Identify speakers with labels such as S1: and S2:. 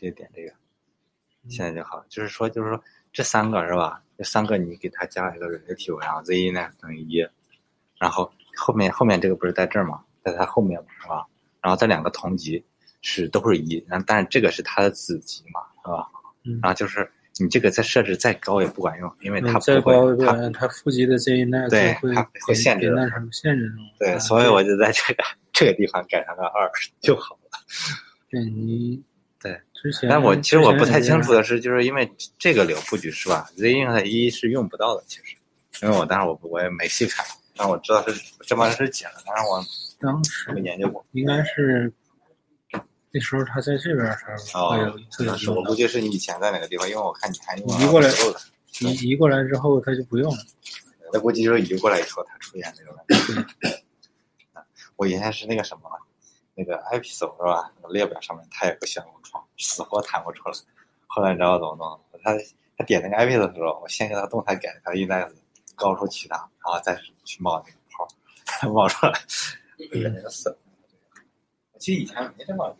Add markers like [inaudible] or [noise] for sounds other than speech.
S1: 就点这个，现在就好。就是说，就是说这三个是吧？这三个你给它加一个 relative，然后 z 呢等于一，然后后面后面这个不是在这儿吗？在它后面是吧？然后这两个同级是都是一，然后但是这个是它的子级嘛，是吧？
S2: 嗯
S1: 然后就是你这个再设置再高也不管用，因为它
S2: 嗯
S1: 不
S2: 再高
S1: 会
S2: 对
S1: 它
S2: 吧？它负极的 Z 那
S1: 对
S2: 会
S1: 它会
S2: 给
S1: 限制
S2: 给
S1: 的
S2: 那什么限制住。
S1: 对，
S2: 啊
S1: 所以我就在这个这个地方改成了二就好了。
S2: 对你
S1: 对
S2: 之前，
S1: 但我其实我不太清楚
S2: 之前也
S1: 的是，就是因为这个流布局是吧？Z 硬和 E 是用不到的，其实，因为我当时我我也没细看，但我知道是这帮人是解了，但是我
S2: 是当时
S1: 没研究过。
S2: 应该是那时候他在这边儿时候会有一次
S1: 那是我估计是你以前在哪个地方，因为我看你还用
S2: 移过来
S1: 了，
S2: 移移过来之后他就不用了。
S1: 那估计就是移过来以后它出现那种感觉。 [coughs] 我原先是那个什么，那个 i p s o 是吧？那个列表上面它有个旋过窗，死活弹不出来。后来你知道怎么弄的？他他点那个 i p s 的时候，我先给他动态改了条 index，高出其他，然后再去冒那个 [laughs] 泡，冒出来，我原来就死了。其实以前没这么，